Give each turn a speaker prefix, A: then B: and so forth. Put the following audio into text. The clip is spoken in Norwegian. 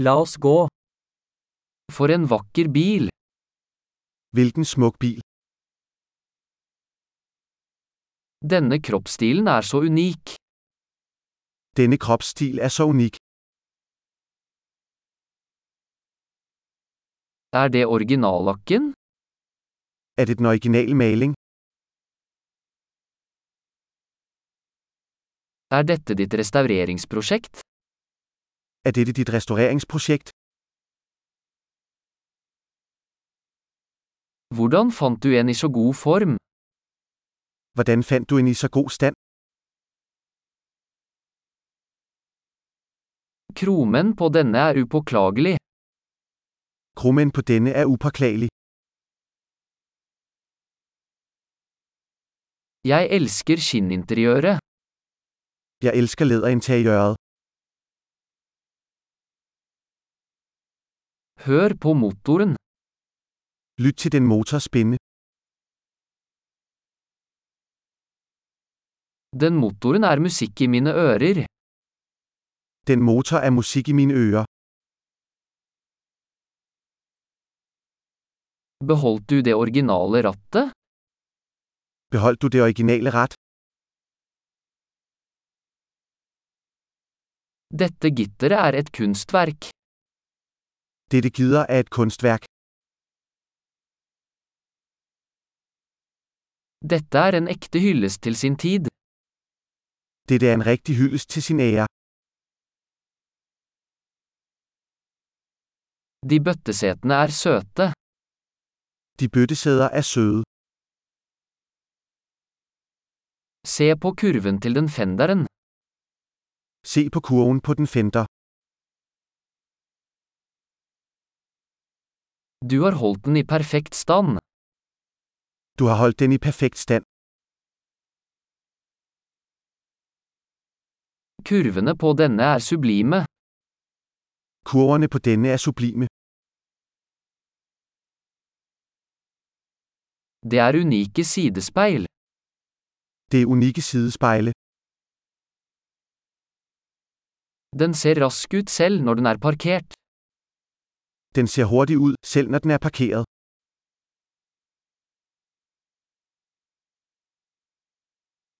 A: La oss gå. For en vakker bil.
B: Hvilken smuk bil.
A: Denne kroppsstilen er så unik.
B: Denne kropsstil er så unik.
A: Er det originallakken?
B: Er det den originale maling?
A: Er dette ditt restaureringsprosjekt?
B: Er dette ditt restaureringsprosjekt?
A: Hvordan fant du en i så god form?
B: Hvordan fant du en i så god stand?
A: Kromen på denne er upåklagelig.
B: Krummen på denne er upåklagelig.
A: Jeg elsker skinninteriøret.
B: Jeg elsker læderinteriøret.
A: Hør på motoren.
B: Lyt til den motorspinne.
A: Den motoren er musikk i mine ører.
B: Den motor er musik i mine ører.
A: Beholdt du det originale rattet?
B: Beholdt du det originale ret?
A: Dette gitteret er et kunstverk.
B: Dette gider er et kunstværk.
A: Dette er en ekte hyllest til sin tid.
B: Dette er en rigtig hyldest til sin ære.
A: De bøttesetene er søte.
B: De bøttesæder er søde.
A: Se på kurven til den fenderen.
B: Se på kurven på den fender.
A: Du har holdt den i perfekt stand.
B: Du har holdt den i perfekt stand.
A: Kurvene på denne er sublime.
B: Kurverne på denne er sublime.
A: Det er unike sidespeil.
B: Det er unikke sidespejle.
A: Den ser rask ut selv når den er parkert.
B: Den ser hurtig ud, selv når den er parkeret.